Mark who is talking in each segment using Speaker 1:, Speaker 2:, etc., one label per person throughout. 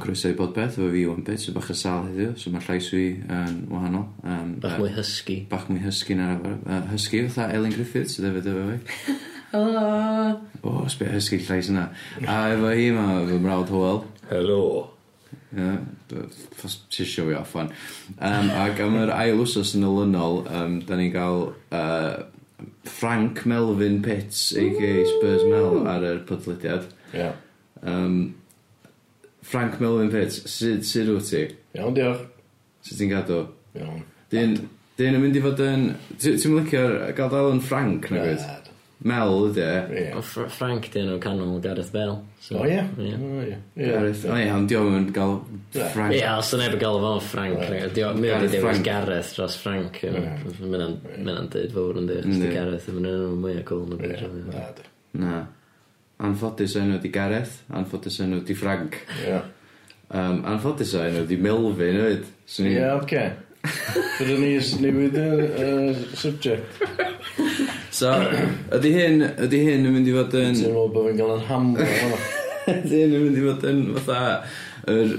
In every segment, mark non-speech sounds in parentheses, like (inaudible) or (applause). Speaker 1: croeso i bod beth efo fi wan bit, so bach o sal heddiw, so mae llais fi yn wahanol. Um,
Speaker 2: Bach mwy hysgu.
Speaker 1: bach mwy hysgu na arfer. Uh, hysgu fatha Elin Griffiths sydd hefyd efo fi.
Speaker 2: Helo.
Speaker 1: O, oh, sbio hysgu llais yna. A efo hi mae fy mrawd Howell.
Speaker 3: Helo.
Speaker 1: Ie, d- ffos ti isio fi off fan. Um, ac am yr ail wsos yn olynol, um, da ni'n cael uh, Frank Melvin Pitts, a.k.a. Spurs Mel, ar yr podlediad.
Speaker 3: Ia.
Speaker 1: Um, Frank Melvin Pitts, sut sy wyt ti?
Speaker 3: Iawn, diolch.
Speaker 1: Sut ti'n gadw?
Speaker 3: Iawn.
Speaker 1: Dyn, dyn yn mynd i fod yn... ti- Ti'n mylicio gael dal yn Frank, na gwyd?
Speaker 3: Bad.
Speaker 1: Mel ydy e.
Speaker 3: Ie.
Speaker 2: O, Fr Frank dyn nhw canol Gareth Bale. So,
Speaker 3: O, ie. Mm.
Speaker 2: Ie,
Speaker 3: O, ie.
Speaker 1: Gareth. O
Speaker 3: Ie.
Speaker 1: ie, ond diolch yn gael
Speaker 3: Ie.
Speaker 1: Frank.
Speaker 2: Ie, os yna efo gael fo'n Frank. Dio- Mi oedd i
Speaker 1: Gareth
Speaker 2: ddewis
Speaker 1: Frank.
Speaker 2: Gareth dros Frank. Mae'n dweud fawr yn dweud. Ydy
Speaker 1: Yndi.
Speaker 2: Gareth yn mynd yn mwy o gol yn y
Speaker 3: Ie.
Speaker 2: byd.
Speaker 3: Bad.
Speaker 1: Na. Anffodus enw di Gareth, anffodus enw di Frank.
Speaker 3: Ie.
Speaker 1: Um, anffodus enw di Melvin, ywyd? So ni...
Speaker 3: Ie, (laughs) oce. Dydyn ni s- newid y y subject.
Speaker 1: So, ydy hyn, ydy hyn yn mynd i fod
Speaker 3: Ti'n
Speaker 1: yn...
Speaker 3: meddwl bod fi'n gael yn hamlo hwnna.
Speaker 1: ydy hyn yn mynd i fod yn fatha... Yr,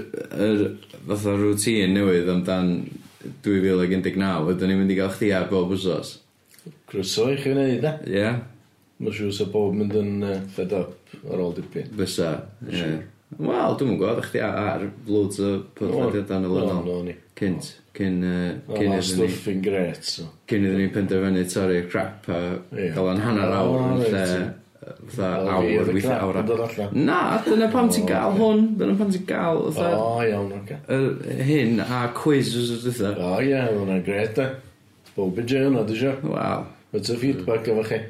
Speaker 1: yr fatha routine newydd amdan 2019, ydyn ni'n mynd i gael chdi ar bob wsos.
Speaker 3: Croeso i chi wneud, e?
Speaker 1: Ie? Yeah?
Speaker 3: Mae'n siŵr sa bob mynd yn yy, fed up ar ôl dipyn.
Speaker 1: Fysa. Ie. Wel, dwi'n gwybod, chdi ar, ar loads o podlediadau yn y
Speaker 3: O'n,
Speaker 1: lynol.
Speaker 3: o'n i.
Speaker 1: Cynt. Cyn, uh,
Speaker 3: O'n
Speaker 1: cyn
Speaker 3: i'n
Speaker 1: iddyn ni.
Speaker 3: stwff yn gret, so.
Speaker 1: Cyn iddyn ni penderfynu torri'r crap a
Speaker 3: Ie.
Speaker 1: gael o'n hanner awr yn
Speaker 3: O,
Speaker 1: lle
Speaker 3: reit.
Speaker 1: yy, fatha
Speaker 3: Wel, fi
Speaker 1: awr,
Speaker 3: oedd y
Speaker 1: weithio
Speaker 3: crap
Speaker 1: awr.
Speaker 3: yn dod allan.
Speaker 1: Na, dyna pam ti'n gael hwn. Dyna pam ti'n gael
Speaker 3: O,
Speaker 1: fatha
Speaker 3: iawn, oce.
Speaker 1: yr hyn a quiz os oes dda.
Speaker 3: O, ie, hwnna'n gret, e? Bob yn jay hwnna, dwi'n siŵr.
Speaker 1: Waw.
Speaker 3: Mae'n y feedback efo chi.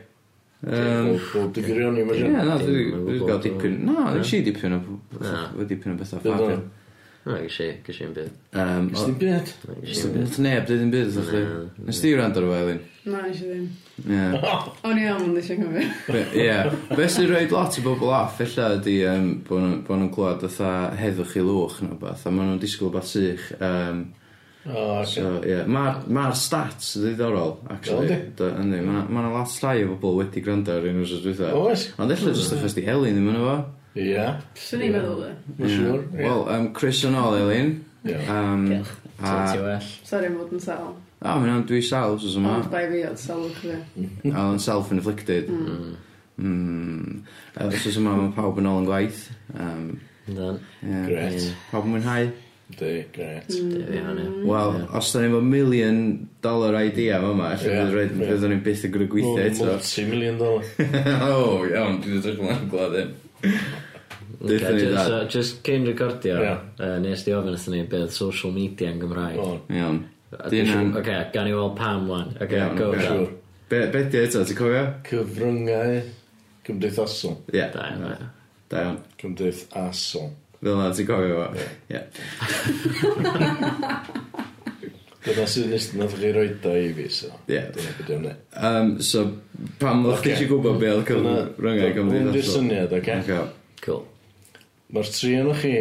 Speaker 1: Yym,
Speaker 3: Bob- Bob dy gyrio ni,
Speaker 1: Ie,
Speaker 3: mae'n
Speaker 1: na,
Speaker 2: Dim
Speaker 1: dwi-
Speaker 2: yn
Speaker 1: dwi 'di
Speaker 2: gwbod,
Speaker 1: gael dipyn. Na, dwi si dipyn o
Speaker 2: Na.
Speaker 1: wedi dipyn o bethau
Speaker 3: Bydd
Speaker 1: ffafio.
Speaker 3: o'n-
Speaker 2: Na, gysi, gysi yn byd.
Speaker 1: Yym,
Speaker 3: Ys
Speaker 1: o-
Speaker 3: dim byd?
Speaker 1: Nes di- neb dweud yn byd ydych chi.
Speaker 2: Na.
Speaker 1: Nes di rand o'r Elin?
Speaker 4: Na, nes i ddim.
Speaker 1: Ie.
Speaker 4: O'n i am, ond eisiau cofio.
Speaker 1: Be- Ie. Be sy'n rhaid lot o bobl off, ella ydi um, bod nhw'n clywed fatha heddwch i lwch neu beth, a maen nhw'n disgwyl beth sych. Um,
Speaker 3: O, oce.
Speaker 1: so, ie. Mae'r ma stats yn ddiddorol, actually.
Speaker 3: Yndi.
Speaker 1: Do- Yndi. Mae'n lot llai o bobl wedi gwrando ar un o'r dwytha.
Speaker 3: Oes?
Speaker 1: Ond ella jyst achos di Elin ddim yn efo.
Speaker 3: Ie.
Speaker 4: Swn i'n meddwl, dde.
Speaker 3: Mae'n siŵr. Ie.
Speaker 1: Wel, um, Chris yn ôl, Elin.
Speaker 3: Ie.
Speaker 1: Um,
Speaker 2: Diolch.
Speaker 1: a,
Speaker 2: Ti'n ti well.
Speaker 4: Sorry am fod yn sal.
Speaker 1: a mae'n am dwi sal, os yma.
Speaker 4: Ond bai fi oedd salwch fi.
Speaker 1: A yn self-inflicted. Mm. Mm. Uh, so yma mae pawb yn ôl yn gwaith. Um,
Speaker 2: Dan.
Speaker 1: yeah.
Speaker 3: Gret.
Speaker 1: Pawb yn mwynhau.
Speaker 3: Di, gret.
Speaker 1: Wel, os da ni efo million dollar idea yma yma,
Speaker 3: Ie,
Speaker 1: yeah. fydd
Speaker 3: ie.
Speaker 1: yeah. ni byth yn gwrdd gweithio
Speaker 3: Wel,
Speaker 1: eto.
Speaker 3: Multi-million dollar.
Speaker 1: (laughs) O, iawn, dwi'n edrych yn gwlad hyn. Deutha ni
Speaker 2: just,
Speaker 1: dad.
Speaker 2: so, just cyn recordio,
Speaker 3: Ie.
Speaker 2: uh, nes di ofyn ydyn ni beth social media yn Gymraeg.
Speaker 3: O,
Speaker 1: Iawn.
Speaker 2: A
Speaker 1: Di
Speaker 2: dwi'n siŵr-
Speaker 1: hynna'n-
Speaker 2: Oce, gan i weld pam wan. Oce,
Speaker 1: Iawn,
Speaker 2: go
Speaker 1: oce.
Speaker 2: dan.
Speaker 3: siŵr.
Speaker 1: Be, be di eto, ti'n cofio?
Speaker 3: Cyfryngau cymdeithasol.
Speaker 1: Ie. Yeah.
Speaker 2: Da, iawn, ie.
Speaker 1: Da iawn.
Speaker 3: Cymdeithasol.
Speaker 1: Fel na, ti'n cofio fo. Ie.
Speaker 3: Dyna sydd nes nath chi roed o i fi, so.
Speaker 1: Ie.
Speaker 3: Dyna beth yw'n neud.
Speaker 1: Um, So, pam o'ch chi
Speaker 3: Ocê.
Speaker 1: eisiau gwybod be oedd cyfryngau
Speaker 3: Hwn di
Speaker 1: gymdeithasol?
Speaker 3: syniad, oce?
Speaker 1: Ocê.
Speaker 2: Cool.
Speaker 3: Mae'r tri yn chi,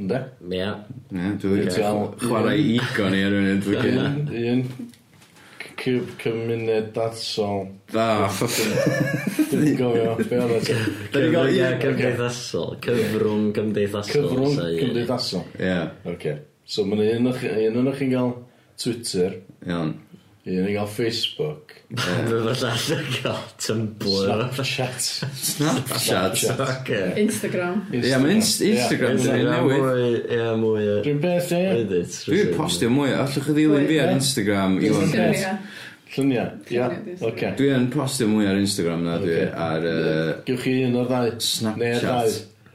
Speaker 3: ynddo?
Speaker 2: Ie.
Speaker 1: Ie, dwi wedi
Speaker 3: Ocê.
Speaker 1: chwarae ego ni ar hwn yn dwi gen.
Speaker 3: Un, un c- cymuned datsol.
Speaker 1: Da, (laughs)
Speaker 3: Dwi'n gofio, be o'n ti?
Speaker 1: Da ni gael
Speaker 2: Cyfrwng- ie,
Speaker 1: un-
Speaker 2: cymdeithasol. Cyfrwng cymdeithasol.
Speaker 3: Cyfrwng
Speaker 2: so, ie.
Speaker 3: cymdeithasol.
Speaker 1: Ie,
Speaker 3: Oce. So mae un o'ch un o'ch chi'n gael Twitter,
Speaker 1: iawn.
Speaker 3: un o'n gael Facebook,
Speaker 2: Fe fod all yn cael Tumblr.
Speaker 1: (laughs)
Speaker 3: Snapchat.
Speaker 1: Snapchat.
Speaker 2: Oce.
Speaker 4: Mm. Instagram.
Speaker 1: Ie, mae Inst- Instagram
Speaker 3: Ie,
Speaker 1: di.
Speaker 2: Instagram
Speaker 1: newydd.
Speaker 2: mwy, ie, mwy o
Speaker 3: Dwi'n beth e,
Speaker 2: edit.
Speaker 1: Dwi'n postio mwy, allwch chi ddilyn fi ar
Speaker 3: Ie.
Speaker 1: Instagram, Iwan
Speaker 3: Ie.
Speaker 1: Pets.
Speaker 4: Llynia.
Speaker 3: lluniau. Ia,
Speaker 4: Lluniau, dwi'n
Speaker 3: oce.
Speaker 1: Dwi yn postio mwy ar Instagram na dwi,
Speaker 3: Ocê.
Speaker 1: ar yy,
Speaker 3: Gewch chi un o'r ddau. Neu y ddau.
Speaker 1: Snapchat,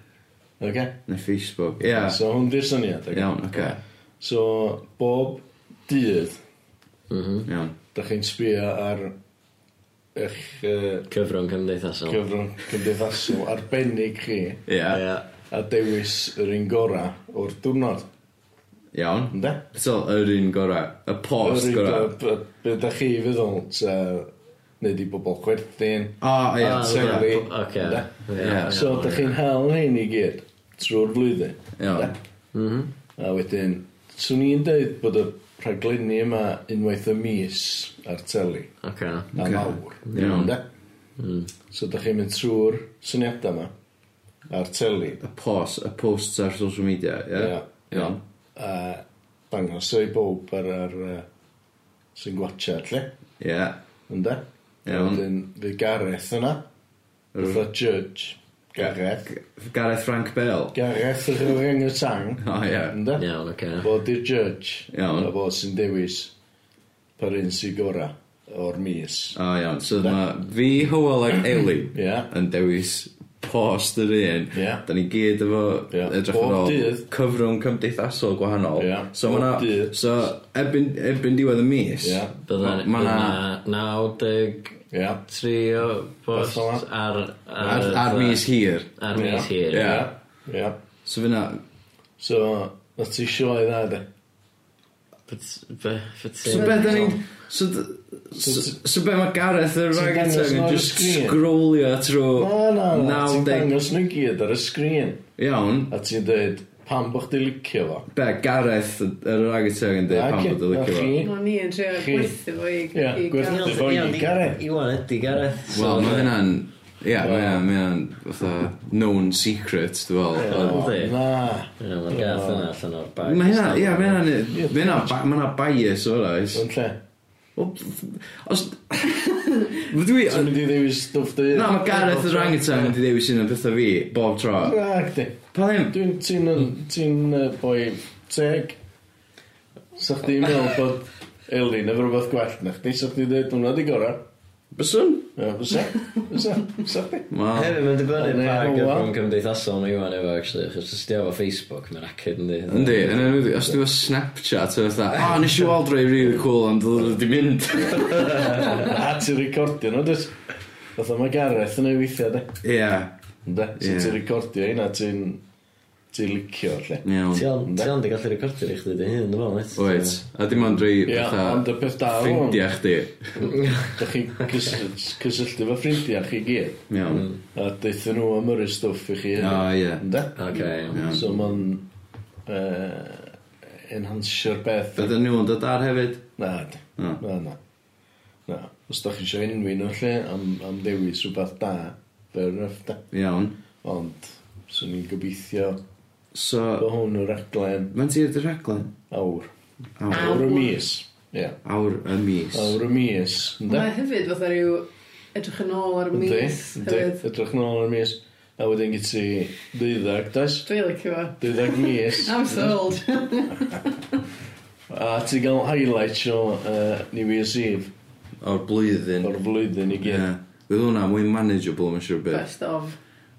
Speaker 3: Oce.
Speaker 1: neu Facebook. Ie,
Speaker 3: So hwn di'r syniad. oce?
Speaker 1: iawn, oce.
Speaker 3: So bob dydd,
Speaker 2: Mhm.
Speaker 1: Iawn.
Speaker 3: da chi'n sbio ar eich yy,
Speaker 2: Cyfrwng cymdeithasol.
Speaker 3: cyfrwng cymdeithasol arbennig chi
Speaker 1: Ie,
Speaker 2: Ie.
Speaker 3: a dewis yr un gora o'r diwrnod.
Speaker 1: iawn.
Speaker 3: Ynde?
Speaker 1: Eto, yr un gorau. Y post
Speaker 3: Yr un
Speaker 1: gorau.
Speaker 3: gora- b- Be da chi feddwl, ta, neu di bobl chwerthin,
Speaker 1: O, ie,
Speaker 2: Ah,
Speaker 1: ti'n
Speaker 3: sori.
Speaker 2: ie, Oce.
Speaker 3: Ynde?
Speaker 2: Ie,
Speaker 3: So,
Speaker 2: ie.
Speaker 3: da chi'n hel hyn i gyd trwy'r flwyddyn.
Speaker 1: Iawn.
Speaker 3: Ynde?
Speaker 1: Mhm.
Speaker 3: A wedyn, swn i'n dweud bod y rhaglenni yma unwaith y mis ar teli.
Speaker 2: Oce.
Speaker 3: A
Speaker 1: Ocê.
Speaker 3: mawr.
Speaker 1: Iawn. Mm.
Speaker 3: Ynde? So, da chi'n mynd trwy'r syniadau yma. Ar teli.
Speaker 1: y post, y posts ar social media, ie?
Speaker 3: Ie.
Speaker 1: Iawn.
Speaker 3: A dangos ei bob ar ar... yy, sy'n gwatcha, lle.
Speaker 1: Ie.
Speaker 3: Ynda?
Speaker 1: Iawn.
Speaker 3: Wedyn, fydd Gareth yna.
Speaker 1: Hmm.
Speaker 3: Fydd judge. Gareth.
Speaker 1: Gareth Frank Bell.
Speaker 3: Gareth yr yng Nghymru.
Speaker 1: O, ie.
Speaker 3: Ynda?
Speaker 2: Iawn, oce.
Speaker 3: Fo di'r judge.
Speaker 1: Iawn.
Speaker 3: A fo sy'n dewis par un sy'n gora o'r mis.
Speaker 1: O, iawn. So mae fi, Hywel ag Eli
Speaker 3: Ie.
Speaker 1: yn dewis post yr un.
Speaker 3: Ie.
Speaker 1: Da ni gyd efo
Speaker 3: Ie.
Speaker 1: edrych
Speaker 3: Bob
Speaker 1: ar ôl
Speaker 3: dydd.
Speaker 1: cyfrwng cymdeithasol gwahanol.
Speaker 3: Ie.
Speaker 1: So
Speaker 3: Bob
Speaker 1: ma' na,
Speaker 3: dydd.
Speaker 1: so erbyn, erbyn diwedd y mis,
Speaker 3: Ie.
Speaker 1: Ma'
Speaker 2: Bydda ma
Speaker 1: na-
Speaker 2: 93
Speaker 3: Ie.
Speaker 2: o post
Speaker 3: Beth
Speaker 2: ar...
Speaker 1: ar, ar mis hir.
Speaker 2: Ar mis
Speaker 3: Ie.
Speaker 2: hir.
Speaker 1: Ie.
Speaker 3: Ie.
Speaker 1: So fyna,
Speaker 3: So, na ti sioe dda de.
Speaker 1: so
Speaker 2: So
Speaker 1: beth da ni... So, d- so, so be mae Gareth yr
Speaker 3: Ti'n
Speaker 1: rhaid
Speaker 3: dangos nhw
Speaker 1: yn
Speaker 3: ar y
Speaker 1: just
Speaker 3: sgrin?
Speaker 1: scrollio
Speaker 3: Na, na,
Speaker 1: trwy
Speaker 3: na. Ti'n
Speaker 1: 90...
Speaker 3: dangos nhw gyd ar y sgrin.
Speaker 1: Iawn.
Speaker 3: A ti'n dweud, pam bych di licio fo?
Speaker 1: Be, Gareth yr rhaid yn dweud
Speaker 3: Ac-
Speaker 1: pan bod y
Speaker 3: a
Speaker 1: licio fo.
Speaker 3: chi?
Speaker 4: No, ni yn trio
Speaker 3: Chi.
Speaker 4: gwerthu fo i...
Speaker 3: Ie,
Speaker 4: i
Speaker 3: gwerthu
Speaker 4: gael-
Speaker 3: fo. Iwan, Gareth.
Speaker 2: Iwan ydi Gareth. So-
Speaker 1: Wel, mae hynna'n... Ie, mae hynna'n... Mae hynna'n... Fatha... Known secret, dwi'n fel.
Speaker 2: Yndi.
Speaker 3: Na.
Speaker 2: Ie, Mae'r Gareth yna allan o'r bag.
Speaker 1: Mae hynna... Ie, mae hynna'n... Mae hynna... ba- Mae hynna bias o'r oes.
Speaker 3: Yn lle.
Speaker 1: O, Os... Fy Dwi...
Speaker 3: Ti'n mynd i ddewis stwff dy...
Speaker 1: Na, mae Gareth yr Angetan yn dewis un o'n pethau fi, bob tro.
Speaker 3: Na, gdi.
Speaker 1: Pa ddim?
Speaker 3: Dwi'n ti'n ti'n uh, boi teg. Sa chdi'n meddwl bod Elin efo rhywbeth gwell na chdi, sa chdi dweud hwnna di gorau.
Speaker 1: Byswn?
Speaker 3: Ie, fysa, fysa, fysa chdi.
Speaker 1: Wel...
Speaker 2: Hefyd, mae'n dibynnu
Speaker 3: Neu
Speaker 2: pa
Speaker 3: Hywel.
Speaker 2: gyfrwng cymdeithasol mae Iwan efo, actually, achos os di efo Facebook, mae'n acid, yndi?
Speaker 1: Yndi, yn enwedig, os dwi'n Snapchat, dwi'n fatha, o, nes i weld rei really cool, ond dwi'n di mynd.
Speaker 3: (laughs) A ti'n recordio nhw, dwi. Fytha mae Gareth yn ei weithio, de.
Speaker 1: Ie,
Speaker 3: Ynde? So
Speaker 1: Ie.
Speaker 3: ti'n recordio hynna, ti'n... Ti'n licio, lle.
Speaker 1: iawn.
Speaker 2: Ti ond di gallu recordio i chdi dy hun, dwi'n meddwl, net.
Speaker 1: Oed, a dim ond rei
Speaker 3: Ie, ond
Speaker 1: fatha
Speaker 3: y peth da o hwn,
Speaker 1: ffrindiau chdi.
Speaker 3: da chi'n cys- cysylltu fo ffrindiau chi gyd,
Speaker 1: Iawn.
Speaker 3: a deitha nhw am yr stwff i chi.
Speaker 1: O, ie.
Speaker 3: Ynde?
Speaker 2: Oce, iawn.
Speaker 1: Iawn.
Speaker 3: So mae'n uh, enhansio'r beth.
Speaker 1: Bydden nhw'n dod ar hefyd?
Speaker 3: Na, d-
Speaker 1: Na.
Speaker 3: na, na. Na, os da chi eisiau enwi nhw lle am, am dewis rhywbeth da, fair enough da.
Speaker 1: Iawn.
Speaker 3: Ond, swn i'n gobeithio
Speaker 1: So,
Speaker 3: bo hwn o'r aglen
Speaker 1: mae'n ti i'r raglen?
Speaker 3: awr.
Speaker 1: Awr,
Speaker 4: Awr.
Speaker 3: Awr y mis. Ie,
Speaker 1: awr y mis.
Speaker 3: awr y mis. Ynda?
Speaker 4: Mae hefyd fatha rhyw edrych yn ôl ar y mis hefyd.
Speaker 3: Edrych yn ôl ar y mis. A wedyn gyd ti ddeuddag, does?
Speaker 4: Dwi'n licio fo.
Speaker 3: Ddeuddag
Speaker 4: (laughs)
Speaker 3: mis.
Speaker 4: I'm sold.
Speaker 3: A ti gael highlight o uh, New Year's Eve
Speaker 1: O'r blwyddyn.
Speaker 3: o'r flwyddyn i
Speaker 1: Ie.
Speaker 3: gyd.
Speaker 1: Bydd hwnna mwy manageable, mae'n siŵr beth.
Speaker 4: Best of.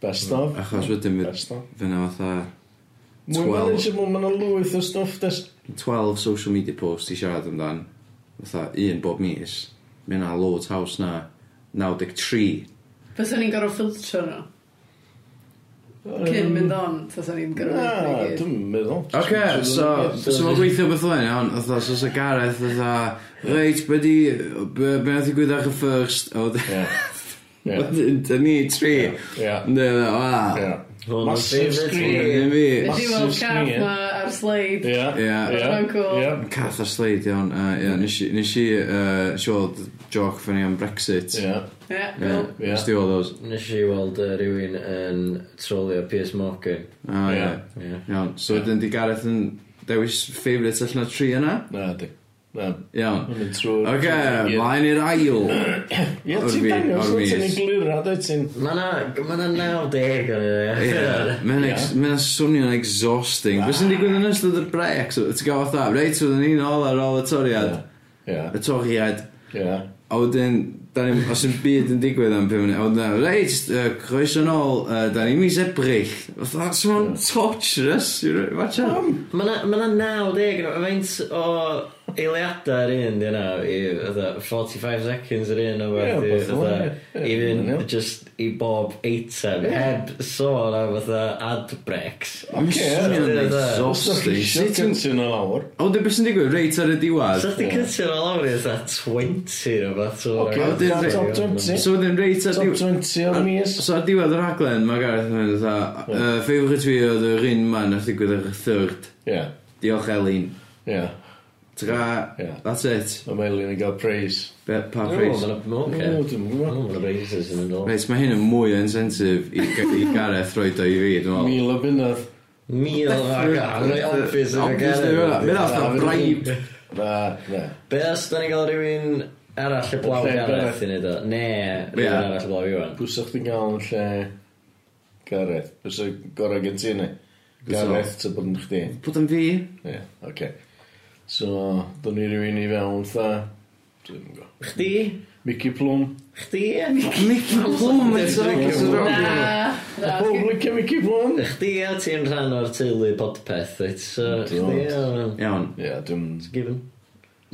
Speaker 3: Best of.
Speaker 1: Achos wedyn fydd
Speaker 3: Best of.
Speaker 1: fyna fatha
Speaker 3: Mwy
Speaker 1: Twelve.
Speaker 3: manageable, mae'n lwyth o stwff des.
Speaker 1: 12 social media posts i siarad amdan. Fatha un bob mis. Mae yna loads house na 93.
Speaker 4: Fyswn ni'n gorfod ffiltro nhw. Cyn mynd on, fyswn ni'n
Speaker 3: Na,
Speaker 4: gorfod wneud i gyd.
Speaker 3: dwi'n meddwl.
Speaker 1: Ok, so, so mae'n gweithio beth o'n iawn, fatha, so sa Gareth, fatha, reit, be di, be be nath i gwydach y first, o,
Speaker 3: Ie. Ie.
Speaker 1: da ni tri.
Speaker 3: Ie.
Speaker 1: Ne, ne, wa,
Speaker 3: Ie.
Speaker 2: Hwn yn
Speaker 3: Massive
Speaker 2: favourite
Speaker 3: screen.
Speaker 1: ne fi.
Speaker 4: Nes i weld
Speaker 3: Massive
Speaker 4: caff
Speaker 3: sgrin.
Speaker 4: ma ar sleid.
Speaker 3: Ie.
Speaker 1: Ie.
Speaker 4: Ma'n cool.
Speaker 3: Ie.
Speaker 1: Cath a sleid iawn, a ie, nes i, nes i, yy, siwod joc fyny am Brexit. Ie,
Speaker 3: Ie.
Speaker 4: Ie, Bill.
Speaker 3: Ie.
Speaker 1: nes di o those.
Speaker 2: Nes i weld uh, rhywun yn trolio Piers Morgan.
Speaker 1: A ie,
Speaker 3: Ie.
Speaker 2: Ie.
Speaker 1: iawn, so wedyn di Gareth yn dewis favourites allan o tri yna?
Speaker 3: Na, di. Na.
Speaker 1: Iawn.
Speaker 3: Hwn yn trwy'r...
Speaker 1: Ok, mlaen i'r ail. (coughs)
Speaker 3: Ie,
Speaker 1: o'r
Speaker 3: ti'n
Speaker 1: fi-
Speaker 3: dangos,
Speaker 1: o'r
Speaker 3: ti'n
Speaker 1: mis.
Speaker 3: egluro, dwi ti'n...
Speaker 2: Mae na, ma na 90 o'n i.
Speaker 1: Ie, Mae'n swnio'n exhausting. Beth sy'n digwydd yn ystod y breaks? Ti'n gael fatha, reit, oedden ni'n ôl ar ôl y toriad.
Speaker 3: Ie.
Speaker 1: Y toriad.
Speaker 3: Ie.
Speaker 1: A wedyn, da ni- os yn byd yn digwydd am 5 munud, a wedyn, reit, yy, croeso yn ôl, yy, da ni mis ebryll. Fatha, sy'n torturous. you know, Watch out.
Speaker 2: Mae na, ma na 90 yn Faint o eiliadau yr un di yna i fatha 45 seconds yr un o werth
Speaker 3: Ie,
Speaker 2: i
Speaker 3: wbath fel hynna, ie.
Speaker 2: fatha i
Speaker 3: Ie.
Speaker 2: fynd just i bob eitem heb sôn am fatha ad breaks.
Speaker 1: Mae'n swnio'n
Speaker 2: Ie, fatha,
Speaker 3: Os da chi
Speaker 1: exhausting.
Speaker 3: eisiau
Speaker 1: Sut ti'n-
Speaker 3: cyntun o lawr...
Speaker 1: A wedyn, beth sy'n digwydd? Reit ar y
Speaker 2: So
Speaker 1: diwad.
Speaker 2: chdi cyntio fel awr i fatha 20 o fath o'r
Speaker 3: Ok, na,
Speaker 1: Wel, dyn-
Speaker 3: top 20.
Speaker 1: So wedyn, reit ar
Speaker 3: Top
Speaker 1: diwad.
Speaker 3: 20 o'r mis.
Speaker 1: So ar diwedd y raglen, mae Gareth yn mynd dda, uh, favourite fi oedd yr un man a ddigwydd ar y third.
Speaker 3: Ie.
Speaker 1: Diolch Elin.
Speaker 3: Ie.
Speaker 1: Ti'n ga-
Speaker 3: Ie.
Speaker 1: That's it.
Speaker 3: Mae Elin yn cael praise.
Speaker 1: Be- Pa
Speaker 2: Mae'n
Speaker 1: pris?
Speaker 3: O, dwi'm yn gwbod.
Speaker 2: Mae'n racist yn y nôl.
Speaker 1: Reit, mae hyn yn mwy o incentive i, i Gareth roed o i fi, dwi'n meddwl.
Speaker 3: Mil o bunnod.
Speaker 2: Mil ac ar ei office yn y
Speaker 1: Obviously, mae hwnna- mae hwnna
Speaker 3: Na,
Speaker 1: fatha
Speaker 3: fydd-
Speaker 1: bribe.
Speaker 3: Na, na.
Speaker 2: Be os da ni'n cael rhywun arall y blaw
Speaker 3: Lle
Speaker 2: Gareth
Speaker 3: Gareth.
Speaker 2: i wneud o? Ne, rhywun
Speaker 1: Ie.
Speaker 2: arall y blaw Iwan.
Speaker 3: Pwysa chdi gael yn lle Gareth. Pwysa gorau gen ti yna.
Speaker 1: Pwysa.
Speaker 3: Gareth ty bod yn chdi.
Speaker 1: Bod yn fi?
Speaker 3: Ie, oce. So, dyn ni rhywun i fewn tha. Dwi'n go.
Speaker 2: Chdi?
Speaker 3: Mickey Plum.
Speaker 2: Chdi?
Speaker 1: Mickey Plum yn
Speaker 3: Mickey
Speaker 1: Syracuse yn
Speaker 3: Plum.
Speaker 1: rong.
Speaker 4: Na, na,
Speaker 3: O, blicio Mickey Plum.
Speaker 2: Chdi a ti'n rhan o'r teulu podpeth, reit? So, chdi a...
Speaker 1: Iawn.
Speaker 3: Ie, dwi'n...
Speaker 2: It's a given.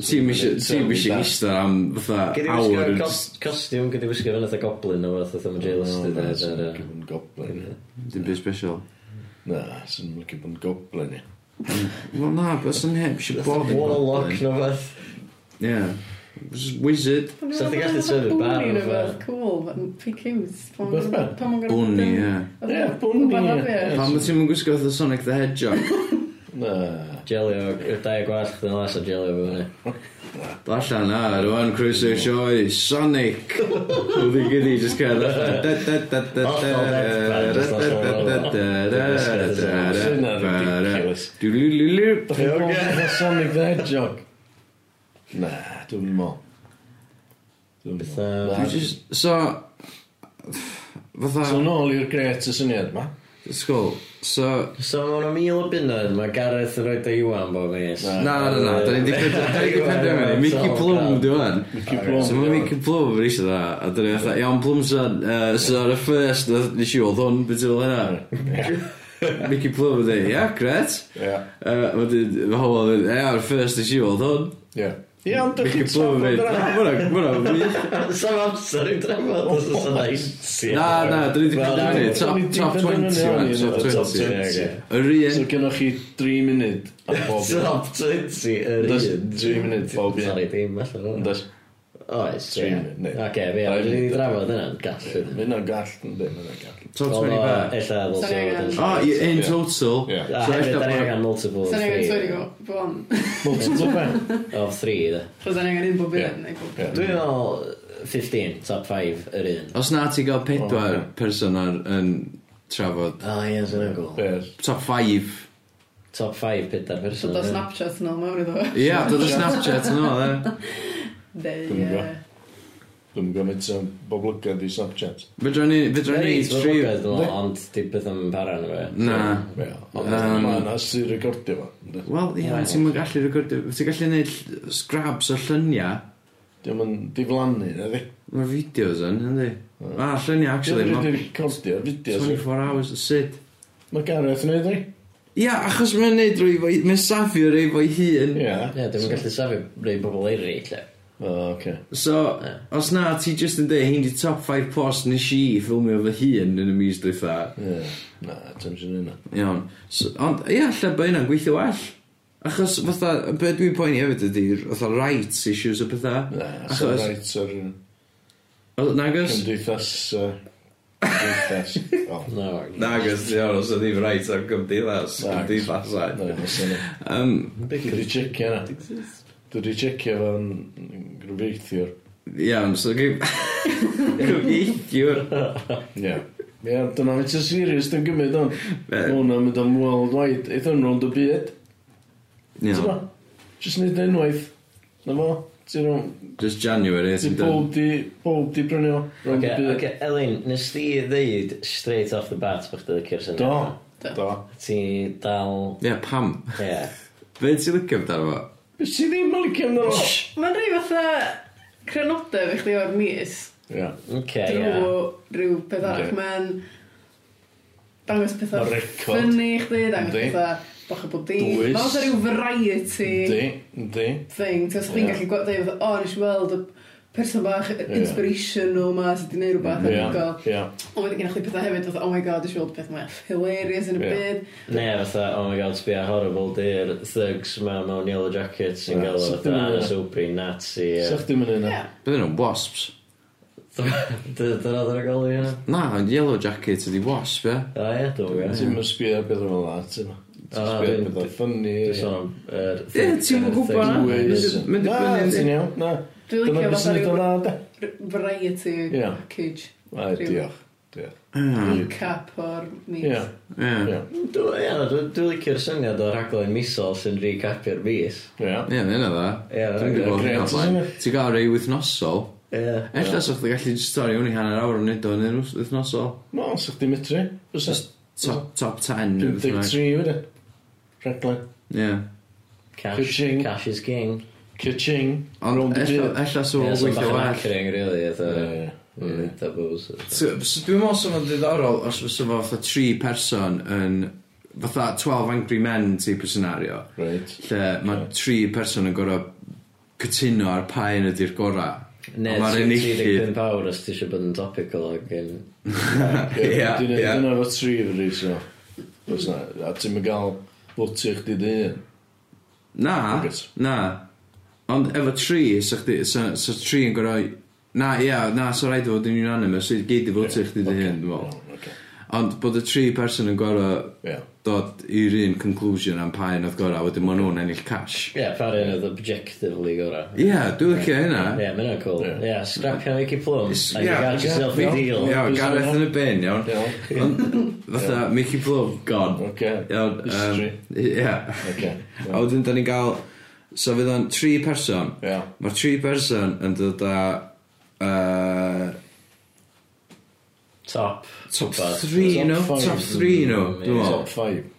Speaker 1: Ti'n misio gista am fatha
Speaker 2: Gyd i
Speaker 1: awr
Speaker 2: wisgo
Speaker 1: yn
Speaker 2: cos- costiwm, gyd i wisgo fan oedd goblin o fath oedd yma
Speaker 1: Oh,
Speaker 2: jailus.
Speaker 3: No, na,
Speaker 2: Dwi'n
Speaker 3: sy'n licio bod yn goblin. ie.
Speaker 1: Dim byd special.
Speaker 3: Na, sy'n licio bod yn goblin. ie.
Speaker 1: Wel na, bys yn heb eisiau bod yn
Speaker 2: Warlock
Speaker 1: goblin.
Speaker 2: no fath.
Speaker 1: Ie. Just Wizard.
Speaker 2: So chdi gallu tyfu bar
Speaker 4: Bwni
Speaker 2: neu
Speaker 4: neu beth,
Speaker 2: rwbeth.
Speaker 4: cool. yn Pwy cws? Pan
Speaker 3: Beth ma?
Speaker 4: ma'n gorfod...
Speaker 1: Bwni, ie.
Speaker 3: Ie, bwni, ie.
Speaker 1: Pan mae ti'n mynd gwisgo fatha Sonic the Hedgehog?
Speaker 3: Na.
Speaker 2: Jelio, y dau gwallt, dyna las o jelio fo fyny.
Speaker 1: Do allan na, rwan croeso i sioi, Sonic! Oedd i gyd i just cael
Speaker 3: Da chi'n gwybod
Speaker 2: Ocê.
Speaker 3: beth o Sonic the Hedgehog? Na, dwi'n mol. Dwi'n
Speaker 2: Fatha-
Speaker 3: meddwl. Na,
Speaker 1: So,
Speaker 3: So
Speaker 1: fatha,
Speaker 3: nôl i'r gret y syniad ma.
Speaker 1: sgol, so,
Speaker 2: So mae hwnna mil o bunnod, mae Gareth yn rhoi da Iwan bob mis. (laughs)
Speaker 3: Na.
Speaker 1: na, na, na, da ni di penderfynu, Mickey Plum, dwi'n
Speaker 3: Mickey
Speaker 1: So
Speaker 3: Plum.
Speaker 1: mae Mickey Plum yn eisiau dda, a dyn ni fatha, iawn Plum son, uh, so ar y ffyrst, nes i oedd hwn, beth yw'n hynna? (laughs) Mickey Plum yn dweud, ia, gret.
Speaker 3: Ie.
Speaker 1: Yy, Wedyn, mae hobl yn dweud, ia, ar y ffyrst nes i oedd hwn.
Speaker 3: Ie. Ie, ond dwi'n
Speaker 1: Mickey
Speaker 3: chi'n
Speaker 1: Plum yn
Speaker 3: trafod yna.
Speaker 1: dweud, "Na, ma' hwnna- ma' hwnna'n wych."
Speaker 2: Sam amser i'w drafod, os oes yna i.
Speaker 1: Na, na, dyn ni wedi
Speaker 2: Wel,
Speaker 1: penderfynu,
Speaker 3: na,
Speaker 1: top,
Speaker 3: dyn ni 'di
Speaker 1: top 20
Speaker 3: penderfynu,
Speaker 1: man,
Speaker 3: iawn,
Speaker 1: top
Speaker 3: ie,
Speaker 2: Top
Speaker 1: 20.
Speaker 2: 20,
Speaker 3: ie.
Speaker 1: Yr
Speaker 3: So
Speaker 1: un,
Speaker 3: gennych chi 3 munud a bob un.
Speaker 2: Top 20, yr
Speaker 3: Does
Speaker 2: un.
Speaker 3: three minute bob un.
Speaker 2: Sorry, dim allan Oh, o'n
Speaker 3: Yndes?
Speaker 2: Oes,
Speaker 3: Three minute, neu-
Speaker 2: Oce, fi
Speaker 3: Dau
Speaker 2: am, dwi wedi
Speaker 3: minute.
Speaker 2: drafod yna'n gallu.
Speaker 3: Mae hynna'n gall, ynddi, mae hynna'n gall.
Speaker 1: top
Speaker 2: Oedd
Speaker 1: 20
Speaker 2: o, Ah,
Speaker 1: man.
Speaker 2: ella, fel sôn.
Speaker 4: Sorry, Iwan.
Speaker 1: O, i- in
Speaker 3: Ie.
Speaker 1: total.
Speaker 3: Ie.
Speaker 2: A
Speaker 1: So
Speaker 2: hefyd,
Speaker 1: ella
Speaker 2: da ni
Speaker 1: bod-
Speaker 2: angen multiple of
Speaker 4: Sa'n angen sori
Speaker 2: three.
Speaker 4: go, bwn.
Speaker 3: Multiple ben.
Speaker 2: Of three, da.
Speaker 4: Chos sa'n angen un bob
Speaker 3: Ie.
Speaker 4: un. neu bob-
Speaker 3: Ie.
Speaker 2: Dwi'n meddwl 15, top 5, yr un.
Speaker 1: Os na ti gael pedwar
Speaker 3: O, ie.
Speaker 1: person ar- yn trafod,
Speaker 2: O, Ah, ie, sy'n agol.
Speaker 3: Beth.
Speaker 1: top 5.
Speaker 2: Top 5, peda'r person.
Speaker 4: Dod o
Speaker 2: ie.
Speaker 4: Snapchat yn ôl mewn iddo.
Speaker 1: Ie, dod o Snapchat yn ôl, e.
Speaker 4: Neu,
Speaker 3: Dwi'm yn
Speaker 4: ie.
Speaker 3: gwbo. Dwi'n gymryd sy'n boblygad i Snapchat.
Speaker 1: Fedra ni, fedra
Speaker 2: Dwi'n
Speaker 1: ni,
Speaker 2: ei
Speaker 1: tri...
Speaker 2: trwy'n meddwl, ond di beth am para yn fe.
Speaker 1: Na.
Speaker 3: Wel, ond
Speaker 1: Yym.
Speaker 3: mae yna sy'n recordio fo. ynddi?
Speaker 1: Wel, ie,
Speaker 2: Wel.
Speaker 1: ti'n mynd gallu recordio... Ti'n gallu gwneud ll- scraps o lluniau
Speaker 3: Dwi'n yn diflannu, na di?
Speaker 1: Mae'r fideos yn, ynddi? A, lluniau, actually.
Speaker 3: Dwi'n
Speaker 1: ma'
Speaker 3: rhaid i recordio fideos.
Speaker 1: 24 hours, sut?
Speaker 3: Mae Gareth yn ei
Speaker 1: Ia, achos mae'n neud rwy fo'i... Mae'n safio rwy fo'i hun.
Speaker 3: Ie.
Speaker 2: Ie, dwi'n gallu safio rei bobl eraill, lle.
Speaker 3: O, oce.
Speaker 1: So,
Speaker 2: Ie.
Speaker 1: os na, ti just yn dweud, hyn di top 5 post nes i ffilmio fy hun yn y mis dwytha.
Speaker 3: Ie. Na, ti'n sy'n yna.
Speaker 1: Iawn. So, ond, ia, lle bod hynna'n gweithio well. Achos, fatha, be dwi'n poeni hefyd ydy, fatha rights issues o bethau.
Speaker 3: Na, sy'n
Speaker 1: achos,
Speaker 3: rhaid ar
Speaker 1: o- nagos?
Speaker 3: cymdeithas... yy, Cymdeithas. Oh, O,
Speaker 2: No.
Speaker 1: Nagos, ti'n iawn, os ydy'n rhaid ar gymdeithas,
Speaker 3: Nagos.
Speaker 1: gymdeithasau.
Speaker 3: na, mae'n sy'n
Speaker 1: Um,
Speaker 3: Dwi wedi checio yna. Dwi wedi checio fo'n grwfeithiwr.
Speaker 1: Iawn, so
Speaker 3: (laughs)
Speaker 1: gym... Cyfieithiwr.
Speaker 3: Ie. Ie, dyna mae'n sy'n serious, dwi'n gymryd o'n.
Speaker 1: Be?
Speaker 3: Mae hwnna'n mynd am worldwide. Eith o'n rownd y byd. Ti'n ba?
Speaker 1: Iawn,
Speaker 3: Just nid e unwaith. Na fo? Ti'n rownd...
Speaker 1: just January, ti'n
Speaker 3: Ti'n
Speaker 1: dod.
Speaker 3: bob di... Bob di brynu o. Rownd
Speaker 2: Oce,
Speaker 3: y byd.
Speaker 2: oce, Elin, nes di ddeud straight off the bat bych ti'n licio'r syniad.
Speaker 3: Do.
Speaker 4: Do.
Speaker 3: Do.
Speaker 2: Ti dal...
Speaker 1: Ie, pam?
Speaker 2: Ie.
Speaker 1: Be ti'n licio amdano fo?
Speaker 3: Bys ti ddim yn licio amdano?
Speaker 4: Mae'n rhaid fatha crynodau fe chdi o'r mis
Speaker 3: Ie.
Speaker 2: Oce, ie.
Speaker 4: drwy rhyw beth arall.
Speaker 3: Yndi.
Speaker 4: Mae'n dangos pethau
Speaker 3: Ma'n record.
Speaker 4: ffynnu i chdi, dangos
Speaker 3: Yndi.
Speaker 4: pethau bach o bob dim.
Speaker 3: Dwys.
Speaker 4: Mae'n fatha rhyw variety
Speaker 3: Di. Di.
Speaker 4: thing. Ti'n
Speaker 3: Ie.
Speaker 4: chdi'n gallu gweld dweud fatha, o, nes i weld y person bach inspirational ma sydd wedi gwneud rhywbeth
Speaker 3: Ie.
Speaker 4: anhygoel.
Speaker 3: Ie.
Speaker 4: Ond wedi gennych chi pethau hefyd, fatha, oh my god, nes i weld peth mwyaf hilarious yn y
Speaker 3: Ie.
Speaker 4: byd.
Speaker 2: Ne, fatha, oh my god, sbia horrible dear, thugs ma mewn yellow jackets yn
Speaker 3: Ie,
Speaker 2: gael o
Speaker 3: so
Speaker 2: fatha
Speaker 3: dwi'n-
Speaker 2: Anna Soapy, Nazi. ie.
Speaker 3: Sa'ch ddim yn yna?
Speaker 4: Ie.
Speaker 1: Byddwn nhw'n wasps.
Speaker 2: Dyna dyna gael i hynna?
Speaker 1: Na, Yellow Jacket ydi wasp, ie.
Speaker 2: O ie, dwi'n
Speaker 3: Ti'n mynd sbio ar beth o'n fel la, ti'n mynd. Ti'n
Speaker 2: na,
Speaker 3: sbio
Speaker 2: dwi'n-
Speaker 3: beth o ffynnu.
Speaker 2: Dwi'n sôn am... yr
Speaker 1: Ie, ti'm yn gwbod na.
Speaker 2: thing-
Speaker 1: Dwi'n-
Speaker 3: Wyys.
Speaker 1: Mae'n
Speaker 3: Na,
Speaker 1: dibynnu, yndi?
Speaker 3: ti'n iawn. Na,
Speaker 4: Dwi'n
Speaker 3: dyna
Speaker 4: licio
Speaker 3: beth sy'n
Speaker 4: fatha
Speaker 3: neud o'n
Speaker 4: ryw
Speaker 3: dda, de.
Speaker 4: r- variety
Speaker 3: Ie.
Speaker 4: package.
Speaker 3: A,
Speaker 4: Ryw-
Speaker 3: Diolch. Diolch.
Speaker 4: Hmm.
Speaker 1: Ah,
Speaker 4: Recap o'r meat.
Speaker 3: Ie.
Speaker 1: Ie,
Speaker 3: Ie.
Speaker 2: Dw- ie, Dwi'n dwi licio'r syniad o rhaglen misol sy'n recapio'r mis.
Speaker 3: Ie.
Speaker 1: Ie, mae'n yna
Speaker 2: Ie,
Speaker 1: dda. Dwi'n gwybod
Speaker 3: grêt,
Speaker 1: hynna blaen.
Speaker 3: isn't
Speaker 1: Ti'n gael rei wythnosol.
Speaker 2: Ie.
Speaker 1: Ella yeah. sa'ch gallu stori hwn i hanner awr yn neud o'n un wyth- wythnosol.
Speaker 3: Wel, sa'ch di mitri. Fysa.
Speaker 1: Just top, top 10. neu beth bynnag.
Speaker 3: 53 wedi. Rhaglen.
Speaker 1: Ie.
Speaker 2: Cash,
Speaker 3: Ka-ching.
Speaker 2: cash is king.
Speaker 3: Kitching.
Speaker 1: Ond
Speaker 3: Rownd y
Speaker 1: ella
Speaker 3: byd.
Speaker 1: ella
Speaker 2: Ie,
Speaker 1: sa fo'n
Speaker 2: so
Speaker 1: gweithio
Speaker 2: bach yn
Speaker 1: well.
Speaker 2: acring, really, eitha.
Speaker 3: Ie.
Speaker 2: Ie, tabws.
Speaker 1: So- so Dwi'n meddwl sef o'n ddiddorol os fysa fo fatha tri person yn fatha 12 Angry Men type o scenario
Speaker 3: Right.
Speaker 1: lle mae tri person yn gorau cytuno ar pa un ydy'r gorau.
Speaker 2: Ne,
Speaker 1: Ond ma'r
Speaker 2: ti'n
Speaker 1: enillydd-
Speaker 2: 35 awr os ti eisiau bod yn topical ag yn...
Speaker 1: Ie,
Speaker 3: Dyna
Speaker 1: ie.
Speaker 3: dyna fo tri fyddi, so. Oes na, a ti'n mynd gael bwtio chdi dy un.
Speaker 1: Na,
Speaker 3: Nugget.
Speaker 1: na. Ond efo tri, sa, chdi, sa, sa tri yn gorau... Na, ia, na, sa rhaid i fod yn unanimous, i gyd i fod ti'ch di dy hyn, dwi'n meddwl. Ond bod y tri person yn gorau
Speaker 3: Ie.
Speaker 1: dod i'r un conclusion am pa un oedd gorau, wedyn maen nhw'n ennill cash.
Speaker 2: Ie, par un oedd objectively gorau.
Speaker 1: Ie, dwi'n licio hynna.
Speaker 2: Ie, mae'n cool.
Speaker 3: Ie.
Speaker 2: Ie, scrapio Mickey Plum.
Speaker 1: Is-
Speaker 2: And you
Speaker 1: ie,
Speaker 2: got yourself a
Speaker 3: exactly.
Speaker 2: deal.
Speaker 1: Iawn, Gareth yn y bin, iawn.
Speaker 3: Iawn.
Speaker 1: Ond, Fatha, Mickey Plum, gone.
Speaker 3: Oce.
Speaker 1: Iawn, yym,
Speaker 3: History.
Speaker 1: ie.
Speaker 3: Oce.
Speaker 1: A wedyn, da ni'n gael... So fydd o'n tri person,
Speaker 3: Ie.
Speaker 1: Mae'r tri person yn dod â uh,
Speaker 2: Top.
Speaker 1: top
Speaker 2: Wbath.
Speaker 3: Top
Speaker 1: 3 nhw,
Speaker 3: five. Mm,
Speaker 1: top 3 nhw, dwi'n meddwl.
Speaker 3: Top 5.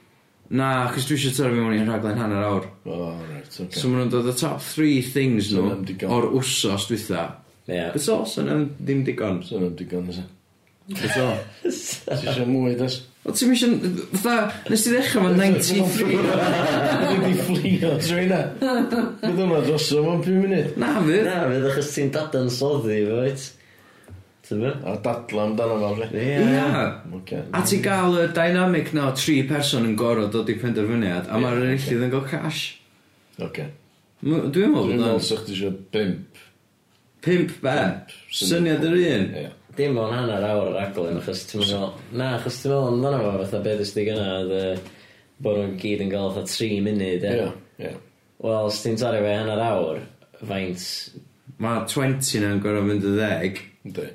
Speaker 1: Na, cos dwi eisiau torri fi mewn i'n rhaglen hanner awr.
Speaker 3: O, right,
Speaker 1: So
Speaker 3: oce.
Speaker 1: maen nhw'n dod â top 3 things
Speaker 3: So
Speaker 1: nhw
Speaker 3: maen nhw'n digon.
Speaker 1: o'r wsos dwytha.
Speaker 2: Ie.
Speaker 1: Beth o, sy'n yn ddim digon.
Speaker 3: So nhw'n digon ysio.
Speaker 1: Beth o.
Speaker 3: Ti
Speaker 1: (laughs)
Speaker 3: eisiau mwy, des?
Speaker 1: O ti'n mysio, fatha, nes ti ddechrau mewn 93?
Speaker 3: Dwi'n di fflio, trwy
Speaker 1: (laughs)
Speaker 3: na. Bydd hwnna dros o mewn 5 munud.
Speaker 1: Na, fydd.
Speaker 2: Na, fydd achos ti'n dadan soddi, fo, wyt? Ti'n fwy?
Speaker 3: A dadla amdano fo, fri.
Speaker 1: Ia.
Speaker 3: Oce.
Speaker 1: A ti gael y dynamic na o tri person yn gorau dod i penderfyniad, a mae'r enillydd yn gael cash.
Speaker 3: Oce.
Speaker 1: M- Dwi'n meddwl
Speaker 3: Dwi'n
Speaker 1: bod
Speaker 3: meddwl
Speaker 1: o'n
Speaker 3: sa'ch ti eisiau 5.
Speaker 1: pimp be. Syniad yr un.
Speaker 3: Ie.
Speaker 2: Dim o'n hanner awr yr aglen, achos ti'n meddwl... Na, achos ti'n meddwl amdano fo, fatha beth ysdi gynna, oedd, yy, bod nhw'n gyd yn gael fatha 3 munud,
Speaker 3: Ie.
Speaker 2: ie.
Speaker 3: Ie.
Speaker 2: Wel, os ti'n torri fe hanner awr, faint...
Speaker 1: Mae 20 na'n gorau fynd y 10.
Speaker 3: Ynddi.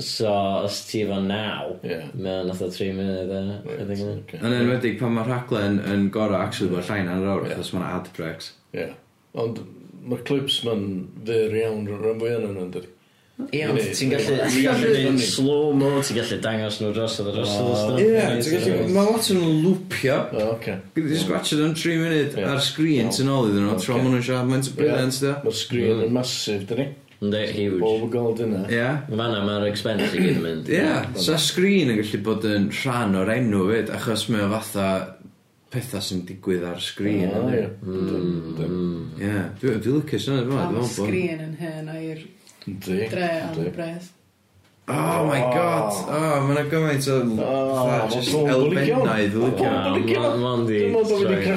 Speaker 2: So, os ti efo naw,
Speaker 3: Ie.
Speaker 2: mae'n fatha 3 munud, ie.
Speaker 3: Reit,
Speaker 2: ydy hynna.
Speaker 3: oce.
Speaker 1: Yn enwedig pan mae'r rhaglen yn gorau actually bod llain ar awr, achos mae'n ad breaks.
Speaker 3: Ie. Ond mae'r clips ma'n fyr iawn rhan fwy yn yna, ynddi.
Speaker 2: Ie, ond ti'n gallu...
Speaker 3: Ie.
Speaker 2: Ti'n gallu
Speaker 3: Ie.
Speaker 2: mynd slow-mo, ti'n gallu dangos nhw dros oedd dros oedd.
Speaker 1: mae lot yn lwpio.
Speaker 3: Oce.
Speaker 1: Gwyd i sgwatio yn 3 munud
Speaker 3: Ie.
Speaker 1: ar sgrin
Speaker 3: Iawn.
Speaker 1: sy'n ôl iddyn nhw, tro
Speaker 3: Ocê.
Speaker 1: maen nhw'n siarad, mae'n briliant da.
Speaker 3: Mae'r sgrin yn masif, dyni.
Speaker 2: Ynddi, huge.
Speaker 3: Bob y gold yna.
Speaker 1: Mm. Ie.
Speaker 2: Fanna mae'r expense i gyd yn mynd.
Speaker 1: Ie, sa sgrin yn gallu bod yn rhan o'r enw fyd, achos mae o fatha pethau sy'n digwydd ar sgrin.
Speaker 3: O,
Speaker 1: Ie,
Speaker 3: ie.
Speaker 2: Mm,
Speaker 3: Ynddi.
Speaker 1: Mm. dwi'n dwi lycus yna, dwi'n
Speaker 4: Am
Speaker 1: meddwl. bod-
Speaker 4: sgrin yn hen a'i'r
Speaker 3: Ynddi.
Speaker 4: dre am y
Speaker 3: Ynddi.
Speaker 4: bres.
Speaker 1: Oh my god, oh, mae'n gymaint o fatha
Speaker 3: ma'
Speaker 1: jyst
Speaker 3: pobl yn licio.
Speaker 1: elfennau ddwycio.
Speaker 3: Ma' pobl yn licio.
Speaker 2: Ma- ma'n di-
Speaker 3: Dwi'n meddwl bod fi wedi cracio.
Speaker 2: sorry.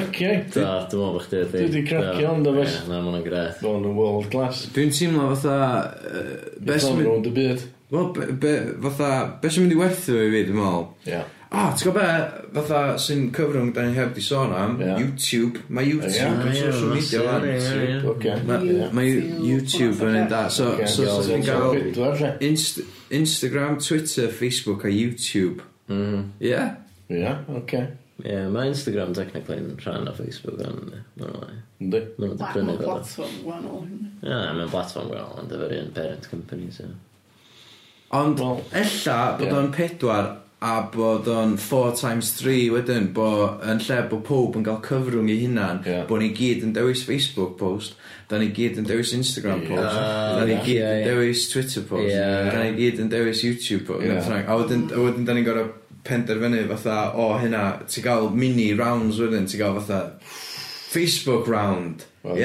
Speaker 2: Da, dwi'n meddwl bych ti.
Speaker 3: Dwi 'di cracio, ond o beth.
Speaker 2: Na, mae'n gret.
Speaker 3: Bo'n yn world class.
Speaker 1: Dwi'n teimlo fatha... Uh,
Speaker 3: Be
Speaker 1: be sy'n
Speaker 3: sy'n
Speaker 1: mynd...
Speaker 3: rownd y byd?
Speaker 1: Wel, be, be, fatha... Be sy'n mynd i werthu fo i fi, dwi'n meddwl?
Speaker 3: Ie.
Speaker 1: O, oh, ti'n gwybod be? Fatha sy'n cyfrwng da ni heb di sôn am.
Speaker 3: Ie.
Speaker 1: YouTube. Mae YouTube yn social media fan.
Speaker 3: Oce.
Speaker 4: Ie.
Speaker 1: Mae
Speaker 4: YouTube.
Speaker 1: YouTube yn un da. So,
Speaker 3: Oce.
Speaker 1: so, so, ti'n gael...
Speaker 3: Pedwar, lle?
Speaker 1: Inst Instagram, Twitter, Facebook a YouTube. Ie? Yeah.
Speaker 3: Ie, oce.
Speaker 2: Mm-hmm. Ie, mae Instagram technically yn rhan o Facebook ond mae'n lai.
Speaker 3: Ynddi.
Speaker 2: Mae'n dibynnu
Speaker 4: Wahanol
Speaker 2: fel.
Speaker 4: platform, wahanol hyn.
Speaker 2: Ie, mae'n platform gwael, ond efo'r un parent company, so.
Speaker 1: Ond
Speaker 3: Wel-
Speaker 1: ella bod
Speaker 3: Ie.
Speaker 1: o'n pedwar a bod o'n 4 times 3 wedyn bo yn lle bod pob yn cael cyfrwng i hunan
Speaker 3: Ie.
Speaker 1: bo ni gyd yn dewis Facebook post da ni gyd yn dewis Instagram
Speaker 3: Ie.
Speaker 1: post da ni
Speaker 2: Ie,
Speaker 1: gyd yn
Speaker 2: ie.
Speaker 1: dewis Twitter post
Speaker 2: Ie.
Speaker 1: da ni gyd yn dewis YouTube post
Speaker 3: Ie.
Speaker 1: neu beth bynnag. a wedyn, a wedyn da ni'n gorau penderfynu fatha o hynna ti gael mini rounds wedyn ti gael fatha Facebook round
Speaker 2: Ie.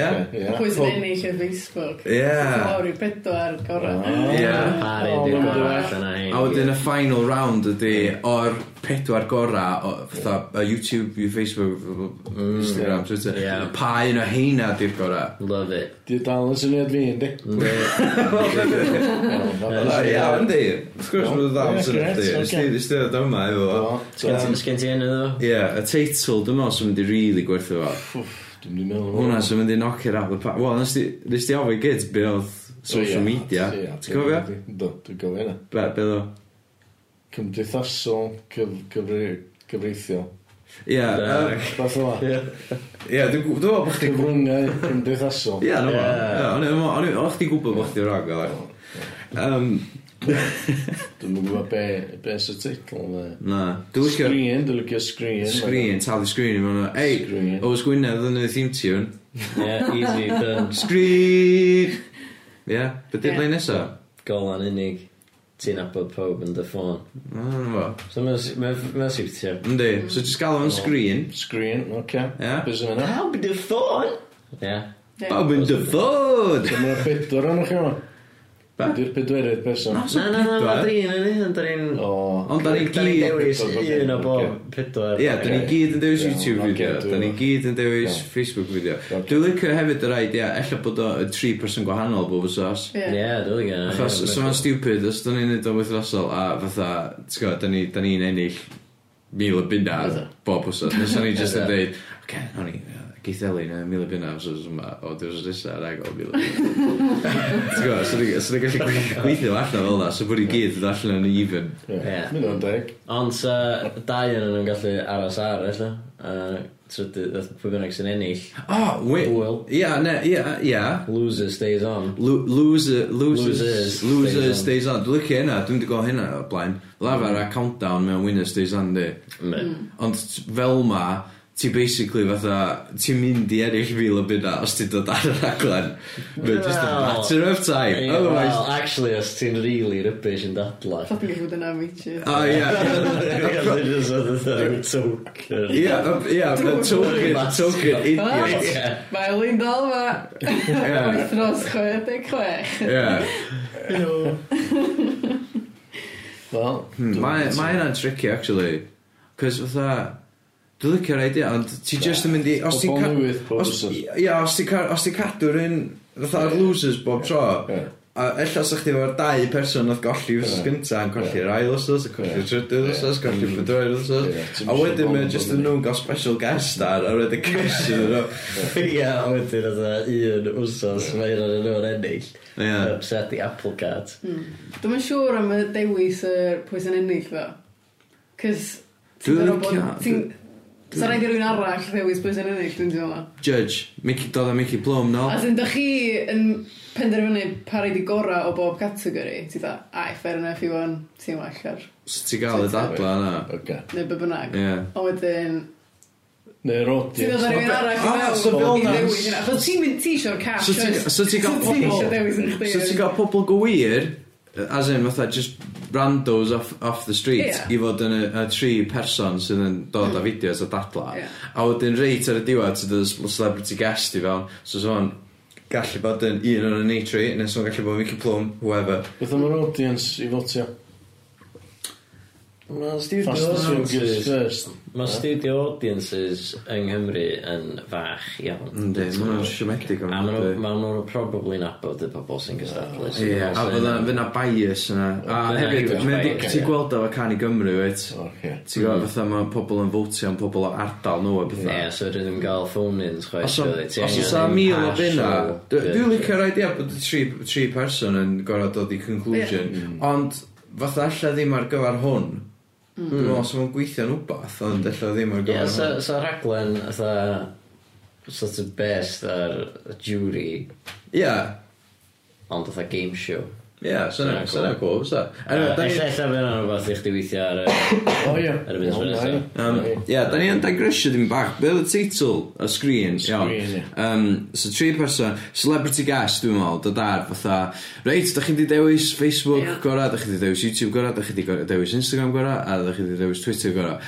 Speaker 4: Pwy sy'n ennill y Facebook?
Speaker 1: Ie.
Speaker 4: Lawr i bedwar gorau.
Speaker 1: Ie.
Speaker 2: Pari
Speaker 3: Oh,
Speaker 2: dwi'n
Speaker 3: mae'n
Speaker 2: gwybod
Speaker 3: well.
Speaker 2: allan a hyn.
Speaker 1: A wedyn y final round ydy o'r pedwar gora o fatha y YouTube, y Facebook, Instagram, Twitter.
Speaker 2: Ie.
Speaker 1: Pa un o heina di'r gora?
Speaker 2: Love it.
Speaker 3: Di dal yn syniad fi,
Speaker 1: (laughs)
Speaker 3: yndi?
Speaker 2: Yndi.
Speaker 1: Dda iawn, di. Wrth
Speaker 3: Iawn.
Speaker 1: gwrs, mae'n ddam
Speaker 3: Ie,
Speaker 1: sy'n
Speaker 3: grêt,
Speaker 1: ydy.
Speaker 3: ocê.
Speaker 1: Ys ti ddod yma efo fo.
Speaker 3: Dwi'n
Speaker 2: Sgen ti- Sgen ti
Speaker 1: (laughs)
Speaker 2: enw ddo?
Speaker 1: Ie, y teitl, dwi'n meddwl sy'n mynd i rili gwerthu fo.
Speaker 3: mynd i meddwl.
Speaker 1: Hwna sy'n mynd i knock it out the park. Wel, nes ti- nes ti ofyn gyd be oedd social
Speaker 3: Oh,
Speaker 1: media. Ti'n cofio?
Speaker 3: Do, dwi'n gofio yna.
Speaker 1: Be, be ddo?
Speaker 3: Cymdeithasol, cyf- cyfri- cyfreithiol.
Speaker 1: Ie, yym, (laughs)
Speaker 3: Beth yma?
Speaker 1: ie, dwi'n gw- dwi'n meddwl bod chdi...
Speaker 3: Cyfrwngau cymdeithasol.
Speaker 1: Ie, no fo.
Speaker 2: Ie.
Speaker 1: Ie, o'n i- o'n i- O'ch chdi gwybod bod chdi'n rhag o'r Yym,
Speaker 3: Dwi'n gwybod be, be sy'n teitl yna.
Speaker 1: Na, dwi'n licio...
Speaker 3: Screen, dwi'n licio screen. Oh.
Speaker 1: Screen, talu screen i mewn o. Ei,
Speaker 3: Screen.
Speaker 1: Oes Gwynedd yn y theme tune.
Speaker 2: Yeah, easy, done.
Speaker 1: Screen! Ie, beth ydyn ni nesaf?
Speaker 2: Golan unig. Ti'n abod pob yn dy ffôn.
Speaker 1: Fo.
Speaker 2: So mae'n siwtio.
Speaker 1: Yndi, so just gael o'n screen
Speaker 3: Screen, oce.
Speaker 1: Ie.
Speaker 3: Be sy'n yna?
Speaker 2: Pawb yn dy ffôn? Yeah.
Speaker 1: Bob yn dyfod
Speaker 3: Dyma'r bedwar o'n chi o'n.
Speaker 1: Be?
Speaker 3: Dwi'n pedwerydd person.
Speaker 1: Na, so
Speaker 2: Na, na, na, na,
Speaker 1: pedwar.
Speaker 2: drin yn un, drin...
Speaker 3: O,
Speaker 1: Ond da ni
Speaker 2: Da ni
Speaker 1: gyd
Speaker 2: dewis
Speaker 3: Pedwar,
Speaker 2: un o bob
Speaker 3: ocê.
Speaker 2: pedwar.
Speaker 1: Ie, da ni gyd yn dewis
Speaker 3: Ie,
Speaker 1: YouTube
Speaker 3: ocê,
Speaker 1: video
Speaker 3: dwi'n-
Speaker 1: Da ni gyd yn dewis
Speaker 3: Iawn.
Speaker 1: Facebook video
Speaker 3: Ocê.
Speaker 1: Dwi'n licio hefyd yr idea Ella bod o y tri person gwahanol bob os
Speaker 4: Ie.
Speaker 2: Ie, dwi'n gan.
Speaker 1: Achos, os yma'n stupid Os da ni'n neud o wythnosol A fatha, ti'n gwybod, da ni- da ni'n ennill Mil o bunnad bob os os Nes o'n i just yn dweud Oce, o'n i Geith Elin yy, mil o bunnad os os yma O, dwi'n os nesa Rhaeg o mil o bunnad (laughs) Ti'n gwybod, os o'n i'n gallu gweithio allan fel na So bod i gyd yn allan yn even
Speaker 3: ie.
Speaker 2: Ie.
Speaker 3: Mynd o'n deg.
Speaker 2: Ond sa dau yn nhw'n gallu aros ar, eitha. A trydydd, daeth pwy bynnag sy'n ennill.
Speaker 1: Oh, wait.
Speaker 2: Hwyl.
Speaker 1: Yeah, ne, yeah, yeah.
Speaker 2: Loser stays on.
Speaker 1: Lo- Loser, losers,
Speaker 2: Losers
Speaker 1: losers
Speaker 2: stays
Speaker 1: stays on. Dwi'n licio hynna, dwi'n wedi gweld hynna o blaen. Lafar a countdown mewn winner stays on, di.
Speaker 2: Mm.
Speaker 1: Ond t- fel ma, ti basically fatha, ti'n mynd i eraill fil o bydda os ti'n dod ar y raglen. But just a
Speaker 2: Wel.
Speaker 1: matter of time. Oh,
Speaker 2: Ie, Wel,
Speaker 1: Otherwise...
Speaker 2: actually, os ti'n rili rybys yn
Speaker 4: (laughs)
Speaker 2: dadla.
Speaker 4: Fucking gwybod yna fi ti.
Speaker 1: Oh, yeah.
Speaker 2: (laughs) Dwi'n just oedd yn token.
Speaker 1: Yeah, um, yeah, but token, token
Speaker 2: (laughs)
Speaker 1: idiot.
Speaker 2: Ie.
Speaker 4: Mae Elin dal fa.
Speaker 1: Yeah,
Speaker 4: Wythnos 66.
Speaker 1: yeah.
Speaker 3: Wel,
Speaker 1: Hmm, Mae mae hynna'n tricky, actually. Cos fatha... Dwi'n licio'r idea, ond ti just yn mynd i... Os ti'n...
Speaker 3: Pobol
Speaker 1: ca-
Speaker 3: newydd, pob
Speaker 1: os-
Speaker 3: wsos.
Speaker 1: Ie, os ti'n ca- os ti'n cadw'r un... Fatha'r losers bob tro.
Speaker 3: Ie.
Speaker 1: A ella os ydych chi efo'r dau person oedd golli wrth
Speaker 3: Ie.
Speaker 1: gynta yn colli'r ail wrthnos, yn colli'r
Speaker 3: Ie. Mm.
Speaker 1: trydydd wrthnos, colli'r pedwyr
Speaker 3: Ie,
Speaker 1: wrthnos.
Speaker 3: ti'm
Speaker 1: A
Speaker 3: isio
Speaker 1: wedyn
Speaker 3: bobl
Speaker 1: mae just
Speaker 3: bod
Speaker 1: yn
Speaker 3: yn-
Speaker 1: nhw'n gael special guest star a roed y cash yn nhw.
Speaker 2: Ie, a wedyn oedd un wsos, mae un o'n nhw'n ennill.
Speaker 1: Ie.
Speaker 2: Upset the apple cart.
Speaker 4: Dwi'n yn siŵr am y dewis y pwy sy'n ennill ddo. Cys...
Speaker 1: Dwi'n
Speaker 4: Dwi'n
Speaker 1: licio-
Speaker 4: licio... Sa'n rhaid i rhywun arall ddewis pwy sy'n ennill, dwi'n teimlo.
Speaker 1: Judge, Mickey, dod a Mickey Plum, no?
Speaker 4: As in, dych chi yn penderfynu pa rhaid i gorau o bob categori, ti dda, ai, fair enough i fo'n ti'n well ar,
Speaker 1: So ti gael y dadla yna.
Speaker 3: oce.
Speaker 4: neu be bynnag.
Speaker 1: Ie.
Speaker 4: A wedyn,
Speaker 3: Neu'r
Speaker 4: ti'n
Speaker 3: audience.
Speaker 4: dod ar rhywun arall
Speaker 1: Ah, so
Speaker 4: i
Speaker 1: fel
Speaker 4: fewn i
Speaker 1: na.
Speaker 4: ddewis yna. Fel ti'n mynd ti eisiau'r cash,
Speaker 1: So ti-
Speaker 4: oes?
Speaker 1: so ti gael
Speaker 4: So ti
Speaker 1: pobl-
Speaker 4: eisiau dewis yn chdi.
Speaker 1: So ti'n cael pobl go wir As in, fatha, just randos off, off the street
Speaker 4: Ie.
Speaker 1: I fod yn y, y tri person sydd yn dod a fideos a dadla
Speaker 4: Ie.
Speaker 1: A wedyn reit ar y diwedd sydd y celebrity guest i fewn So sôn, gallu bod yn un o'n y ni tri Neu sôn gallu bod Mickey Plum, whoever
Speaker 3: Beth am yr audience i fotio?
Speaker 2: Mae'n
Speaker 3: Fastest fingers first.
Speaker 2: Mae studio audiences yng Nghymru yn fach iawn.
Speaker 1: Yndi, mae hwnna'n siomedig o'n
Speaker 2: A maen
Speaker 1: mynd
Speaker 2: nhw'n probably nabod y pobol sy'n gystadlu. so
Speaker 1: Ie, a
Speaker 2: ma' nhw'n-
Speaker 1: fydda fyna bias yna A
Speaker 2: Fydd 'na
Speaker 1: hefyd,
Speaker 2: huge
Speaker 1: mae'n
Speaker 2: bias, Mm.
Speaker 1: di- ti'n
Speaker 3: ie.
Speaker 1: gweld o fe can i Gymru, wyt
Speaker 3: Oce.
Speaker 1: Ti'n gweld fatha mae pobl yn fotio am pobl o ardal nhw a bethau
Speaker 2: Ie, so dwi ddim gael phone-ins chwaith.
Speaker 1: Os o-
Speaker 2: really. e Ti
Speaker 1: os
Speaker 2: angen
Speaker 1: oes a
Speaker 2: impartial
Speaker 1: mil o fyna
Speaker 2: bit.
Speaker 1: Dwi'n licio'r idea bod y tri, tri person yn gorfod dod i conclusion
Speaker 2: Mm.
Speaker 1: Ond fatha allan ddim ar gyfer hwn Dwi'n meddwl os mae'n gweithio'n wbath Ond allan ddim ar
Speaker 2: Mm. Ie,
Speaker 1: gyfer
Speaker 2: so, so raglen, fatha, sort of best ar y jury,
Speaker 1: hwn Ie,
Speaker 2: ond fatha game show.
Speaker 1: ie,
Speaker 2: Syna'n
Speaker 1: syna'n
Speaker 2: cool.
Speaker 1: syna cool fysa Anyway,
Speaker 2: Ella fe
Speaker 1: da ni-
Speaker 2: yna rhywbeth i chdi weithio ar
Speaker 1: (coughs)
Speaker 2: y...
Speaker 3: O ie.
Speaker 2: Ar y funud
Speaker 3: Iawn,
Speaker 2: nesaf.
Speaker 3: ie.
Speaker 1: Um,
Speaker 3: Ie.
Speaker 1: Ie, da ni yn digresio dim bach Be oedd y teitl? Y screen iawn.
Speaker 3: Screen, ie.
Speaker 1: um, So tri person Celebrity guest dwi'n meddwl Dod ar fatha Reit, da chi di dewis Facebook
Speaker 4: Ie.
Speaker 1: gora Da chi di dewis YouTube gora Da chi di gora- dewis Instagram gora A da chi di dewis Twitter gora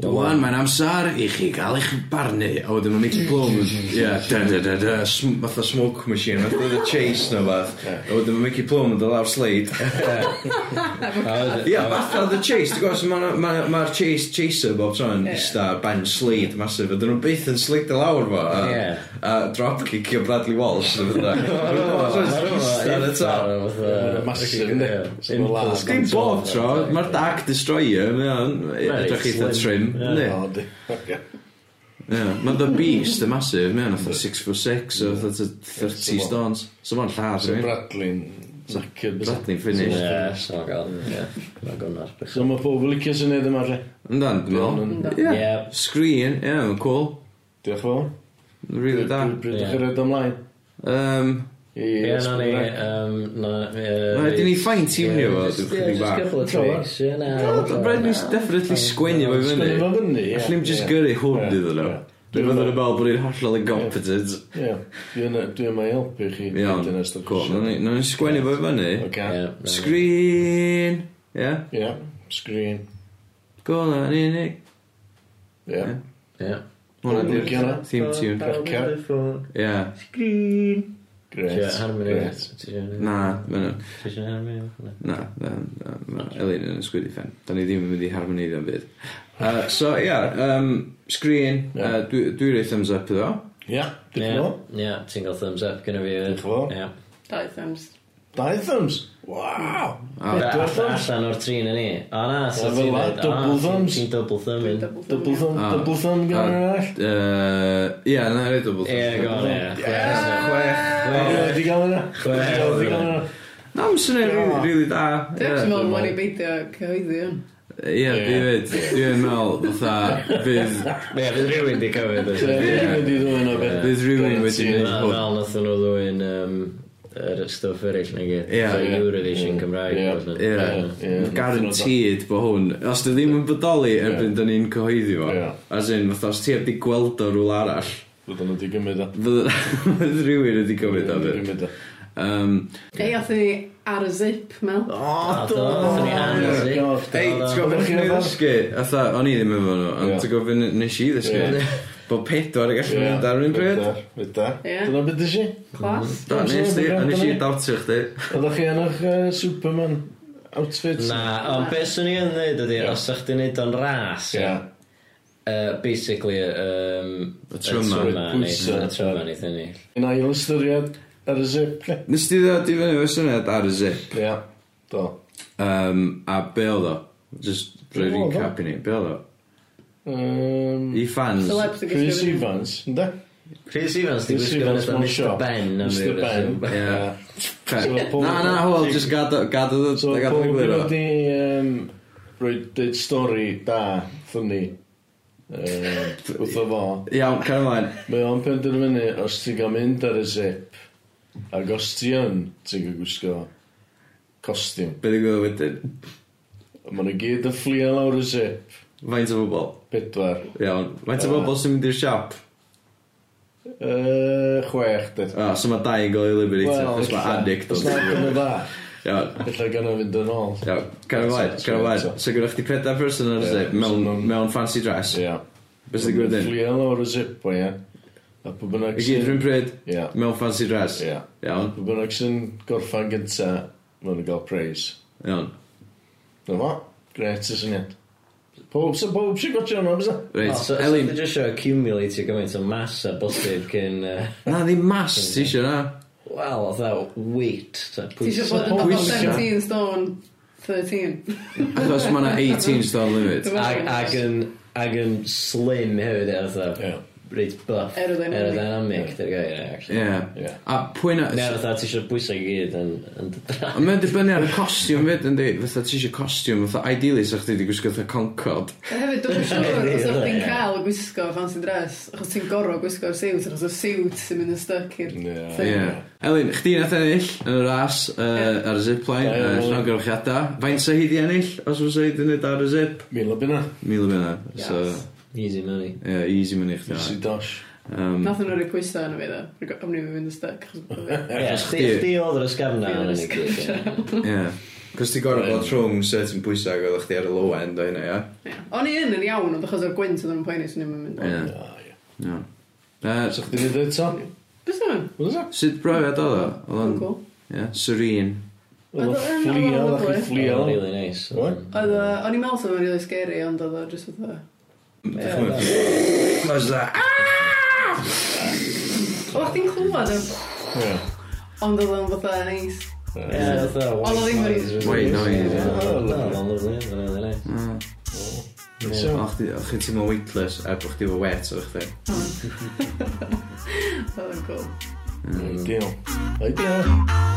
Speaker 1: Wan, mae'n amser i chi gael eich barnu. A wedyn mae Mickey Plum yn...
Speaker 3: (laughs)
Speaker 1: Ie, da, da, da, da, sm- fatha smoke machine, fatha the chase na fath. A wedyn mae Mickey Plum yn dod lawr sleid. Ie, fatha the chase, ti'n gwybod, so mae'r ma, ma ma'r chase chaser bob tro'n
Speaker 4: Ie.
Speaker 1: yeah. ista ar ben sleid masif. Ydyn nhw byth yn sleid y lawr fo. A,
Speaker 2: Ie.
Speaker 1: a dropkick o Bradley Walsh. neu beth bynnag. So it's ista ar y top.
Speaker 3: Massive, yndi?
Speaker 1: Sgrim bob tro, mae'r Dark Destroyer, mae o'n edrych eitha trim.
Speaker 2: Ie.
Speaker 1: yndi?
Speaker 3: O, di. Ie.
Speaker 1: Yeah, mae The Beast yn massive, mae o'n fatha 6 foot 6 o fatha 30 stones. So mae'n llars
Speaker 3: So
Speaker 1: i mi.
Speaker 3: Bradley'n knackered. bysa?
Speaker 1: Bradley'n finished.
Speaker 2: Ie, so gael. Ie, mae'n gynnar.
Speaker 3: So mae pobl licio sy'n neud yma re.
Speaker 1: Yndan, dwi'n
Speaker 3: Yndw.
Speaker 1: meddwl. Ie.
Speaker 2: Ie.
Speaker 1: Screen, ie, mae'n cool.
Speaker 3: Diolch yn fawr.
Speaker 1: Really da.
Speaker 3: Brydych
Speaker 2: Ie.
Speaker 3: chi'n rhaid ymlaen.
Speaker 1: Um,
Speaker 3: I
Speaker 2: Ie, na
Speaker 3: ysgol
Speaker 2: ni,
Speaker 3: Cymraeg.
Speaker 2: yym, na...
Speaker 1: Mae
Speaker 2: Rhaid
Speaker 1: dyn ni ffain teimio fo, dwi'n chydig
Speaker 2: Just
Speaker 1: bach.
Speaker 2: couple of tricks. Ie, na.
Speaker 1: Rhaid ni'n definitely sgwennu fo i
Speaker 3: Sgwennu
Speaker 1: fyny.
Speaker 3: fo fyny, ie.
Speaker 1: Allwn ni'n just
Speaker 3: Ie.
Speaker 1: gyrru hwn
Speaker 3: Ie,
Speaker 1: iddyn nhw.
Speaker 3: ie.
Speaker 1: Dwi'n meddwl y bel bod ni'n hollol incompetent.
Speaker 3: Ie. Dwi yna- Dwi yma i helpu chi.
Speaker 1: Iawn,
Speaker 3: Yn ystod y
Speaker 1: cool.
Speaker 3: sioe.
Speaker 1: Nawn ni- nawn ni'n sgwennu fo i fyny.
Speaker 3: Ocê.
Speaker 1: Screen! Ie,
Speaker 3: Ie. Screen.
Speaker 1: gola yn unig.
Speaker 3: Ie.
Speaker 1: Ie.
Speaker 2: Ie.
Speaker 1: Hwna
Speaker 3: Licio hwnna.
Speaker 1: di'r theme tune. Ie.
Speaker 3: Grêt.
Speaker 2: Ie, harmony.
Speaker 3: Grêt.
Speaker 2: Ti isio harmony?
Speaker 1: Na, ma' nhw-
Speaker 2: Ti isio harmony?
Speaker 1: na, na, na, ma' Elin yn ysgwydu ffen. Da ni ddim yn mynd i harmoniddio yn byd.
Speaker 3: (laughs)
Speaker 1: Uh, so, ie, yeah, um, screen,
Speaker 3: Ie.
Speaker 1: uh, dwi, dwi rei thumbs up iddo.
Speaker 3: Ie. Diolch yn
Speaker 2: Ie,
Speaker 3: fawr.
Speaker 2: ie, ti'n gael thumbs up gyda fi.
Speaker 3: Diolch yn fawr.
Speaker 2: Ie.
Speaker 4: Dau thumbs.
Speaker 3: Dau thumbs. Waw.
Speaker 1: A,
Speaker 3: Double
Speaker 2: Alla-
Speaker 3: thumbs?
Speaker 2: Allan o'r trin yn ni. O na, so
Speaker 3: Wel,
Speaker 2: ti'n
Speaker 3: fel
Speaker 2: dweud,
Speaker 3: that, double
Speaker 2: o, ti'n-
Speaker 3: thumbs.
Speaker 2: ti'n double thumb in.
Speaker 4: Double thumb.
Speaker 3: Double thumb.
Speaker 1: Ah.
Speaker 3: Double thumb gan yr all.
Speaker 1: uh, ie, na, rei double thumbs.
Speaker 2: Ie, go on, ie. Chwe-
Speaker 1: Chwech.
Speaker 3: Ie, Di gael yna.
Speaker 2: Chwech.
Speaker 3: Di gael yna.
Speaker 1: Na, mae'n swnio'n rili, rili da.
Speaker 4: Dwi
Speaker 1: Ie.
Speaker 4: actually meddwl mwyn i beidio cyhoeddi hwn.
Speaker 1: Ie, fi fyd. Dwi'n meddwl, fatha, fydd
Speaker 2: Ie, fydd rhywun di cofid.
Speaker 3: Ie, Dwi'n mynd i ddwy'n o beth.
Speaker 1: Bydd rhywun wedi
Speaker 3: Guaranteed.
Speaker 1: neud.
Speaker 2: Na, fel nath nhw ddwy'n yym, yr stwff eraill na gyd.
Speaker 1: Ie.
Speaker 2: So Eurovision Cymraeg.
Speaker 3: Ie.
Speaker 2: wasn't
Speaker 1: Ie.
Speaker 2: it?
Speaker 3: Ie.
Speaker 1: Guaranteed bod hwn Os dy ddim yn bodoli erbyn da ni'n cyhoeddi fo
Speaker 3: Ie.
Speaker 1: As in, fatha, os ti heb di gweld o rhywle arall
Speaker 3: Byddwn nhw wedi gymryd o.
Speaker 1: Fydd (laughs) fydd rhywun wedi gymryd o fyr
Speaker 3: Gymryd o.
Speaker 1: um,
Speaker 4: Ei, ath ni ar y zip, Mel.
Speaker 2: A do, nath ni
Speaker 3: Ie,
Speaker 2: anasi.
Speaker 3: God.
Speaker 1: Ei, ti'n
Speaker 3: Oeddech
Speaker 1: gofyn
Speaker 3: chi
Speaker 1: chi'n
Speaker 3: efo?
Speaker 1: ddysgu Atha, o'n i ddim efo nhw Ond
Speaker 3: Ie.
Speaker 1: ti'n gofyn nes i ddysgu
Speaker 3: Ie.
Speaker 1: Bod pedwar y gallu
Speaker 3: Ie.
Speaker 1: mynd ar yr un bryd
Speaker 3: Fydda, Fydda.
Speaker 4: Ie.
Speaker 3: Dyna beth ddys i?
Speaker 2: Mm.
Speaker 4: Clas.
Speaker 1: Da,
Speaker 3: Ie,
Speaker 1: nes di,
Speaker 3: ie,
Speaker 1: a nes i
Speaker 3: ie.
Speaker 1: dawtio chdi
Speaker 3: Oeddech chi yn o'ch yy, Superman outfits?
Speaker 2: Na, ond beth swn i yn dweud ydy, os ydych chi'n neud o'n ras,
Speaker 3: Ie.
Speaker 2: yy, basically, yym,
Speaker 1: Y tryma.
Speaker 2: neith-
Speaker 3: Pwysa.
Speaker 2: y tryma neith ennill.
Speaker 3: Yn ail ystyried ar y zip. ie.
Speaker 1: Nes di ddod i fyny fy syniad ar y zip
Speaker 3: Ie. Do.
Speaker 1: um, A be oedd o? Just rhoi
Speaker 3: Be oedd o?
Speaker 1: recap i ni, be oedd o?
Speaker 3: Yym,
Speaker 1: I fans
Speaker 4: Celebs yn
Speaker 3: Chris
Speaker 4: gysgu.
Speaker 3: Evans, ynddo?
Speaker 2: Chris Evans, di
Speaker 3: Chris
Speaker 2: gwisgo
Speaker 3: Evans
Speaker 2: fatha
Speaker 3: mewn
Speaker 2: Mr
Speaker 3: siop.
Speaker 2: Ben. am
Speaker 3: Mr
Speaker 2: ryw
Speaker 3: Ben.
Speaker 2: reswm.
Speaker 1: Ie.
Speaker 3: Ie.
Speaker 1: Fe-
Speaker 3: So, Paul-
Speaker 1: Na, na, wel, just gada, gada,
Speaker 3: So,
Speaker 1: gada,
Speaker 3: Paul,
Speaker 1: gada,
Speaker 3: dwi'n
Speaker 1: gada,
Speaker 3: wedi rhoi dweud stori da, ffynnu, yy, wrtho fo.
Speaker 1: Iawn, cael ymlaen.
Speaker 3: Mae o'n penderfynu os ti'n cael mynd ar y zip, ac os ti yn, ti'n cael gwisgo costiwm.
Speaker 1: Be dwi'n gwybod wedyn?
Speaker 3: Mae nhw gyd yn fflio lawr y zip,
Speaker 1: Faint o bobl?
Speaker 3: pedwar,
Speaker 1: Iawn. Faint o bobl sy'n mynd i'r siop?
Speaker 3: yy, chwech, dweud.
Speaker 1: O, so mae dau yn gael ei liberator. Os mae addict
Speaker 3: Os
Speaker 1: o'n
Speaker 3: mae gan y dda,
Speaker 1: Iawn.
Speaker 3: efallai gan o fynd yn ôl.
Speaker 1: Iawn, cael ymlaen, cael ymlaen. So gyda chdi pedair person ar y
Speaker 3: Ie.
Speaker 1: zip, mewn, mewn fancy dress.
Speaker 3: Ie.
Speaker 1: Beth sy'n gwybod hyn?
Speaker 3: Fflio lawr y zip, o ie. A pwy bynnag
Speaker 1: Y gyd rhywun bryd,
Speaker 3: Ie.
Speaker 1: mewn fancy dress.
Speaker 3: Ie.
Speaker 1: Iawn,
Speaker 3: Pwy bynnag sy'n gorffan gynta, maen nhw'n cael preis.
Speaker 1: iawn.
Speaker 3: Na fo, gret y syniad. Pob sy'n pob sy'n gotio hwnna, bysa?
Speaker 2: Ah, So-
Speaker 4: Oh,
Speaker 1: Reit,
Speaker 2: so
Speaker 1: Elin.
Speaker 2: ti jyst isio accumulatio gymaint o mass a bosib cyn, yy,
Speaker 1: Na, ddim mas ti eisiau na.
Speaker 2: wel, fatha weight, fatha
Speaker 4: Ti eisiau
Speaker 2: pwysa.
Speaker 4: bod yn
Speaker 1: Pwysa.
Speaker 4: bobl 17 stone 13.
Speaker 1: Achos mae yna 18 stone limit.
Speaker 4: Dwi'n
Speaker 2: Ag, ag, yn, ag yn slim hefyd, ie,
Speaker 3: Ie.
Speaker 2: fatha, reit buff.
Speaker 4: Aerodynamic.
Speaker 2: Aerodynamic, dy'r gair, ie, actually.
Speaker 1: Ie.
Speaker 3: Ie.
Speaker 1: A pwy na...
Speaker 2: Neu fatha, ti eisiau bwysau i gyd yn, yn dy
Speaker 1: A mae'n dibynnu ar y costiwm fyd, yndi? Fatha ti eisiau costiwm, fatha ideally sa chdi wedi gwisgo fatha Concord.
Speaker 4: A hefyd, dwi'n siŵr os ydych chi'n cael gwisgo fancy dress, achos ti'n gorfod gwisgo'r siwt, achos y siwt sy'n mynd yn stuck i'r
Speaker 3: Ie.
Speaker 1: Ie.
Speaker 4: thing.
Speaker 1: Elin, chdi nath ennill yn y ras uh, ar y zipline,
Speaker 3: Ie.
Speaker 1: uh, llawn gorwchiadau. Faint sa hi di ennill, os fysa hi di wneud ar y zip?
Speaker 3: Mil o bynna.
Speaker 1: Mil o benna. So,
Speaker 4: Yes.
Speaker 2: Easy money.
Speaker 1: yeah, easy mynd i
Speaker 3: Fysi
Speaker 1: chdi.
Speaker 3: dosh.
Speaker 2: mm.
Speaker 1: Um,
Speaker 4: Nath nhw'n rhoi pwysau yn y fi, dda. Am ni'n mynd yn stuck. achos bod fi-
Speaker 2: Ie, chdi
Speaker 1: chdi-
Speaker 2: chdi oedd yr ysgafna
Speaker 4: Fi
Speaker 3: (laughs)
Speaker 2: yn
Speaker 4: oedd yr
Speaker 2: y gyd. ie.
Speaker 1: yeah. Cos ti'n gorau bod rhwng certain pwysau oedd chdi ar y low end o hynna, ia?
Speaker 4: Ie. O'n i yn yn iawn, ond achos o'r gwynt oedd yn poeni, swn i'n mynd.
Speaker 1: Ie. Iawn. Yy,
Speaker 3: So chdi'n neud eto?
Speaker 4: Beth o'n?
Speaker 3: Wel, so.
Speaker 1: Sut brofiad oedd o? Oedd
Speaker 4: Yn
Speaker 1: o'n...
Speaker 4: cool.
Speaker 1: Ie, serene.
Speaker 3: Oedd o
Speaker 4: Oedd o'n-
Speaker 3: fflio,
Speaker 4: oedd o'n
Speaker 3: oedd chi fflio.
Speaker 2: really
Speaker 4: lyfli.
Speaker 2: nice.
Speaker 3: What?
Speaker 4: Oedd o, o'n i'n meddwl sef o'n really scary, ond oedd o just oedd o.
Speaker 1: Cos da...
Speaker 4: Oedd chdi'n clywed o'n... Ond oedd o'n fatha neis. Ond oedd ddim yn-
Speaker 1: White noise, ie.
Speaker 3: Oh,
Speaker 2: Oedd
Speaker 3: So,
Speaker 1: O, chdi- o, chi ti'n weightless a bod chdi efo wet o'ch chdi.
Speaker 4: Oedd o'n cool.
Speaker 3: Mm. Ideal. Ideal.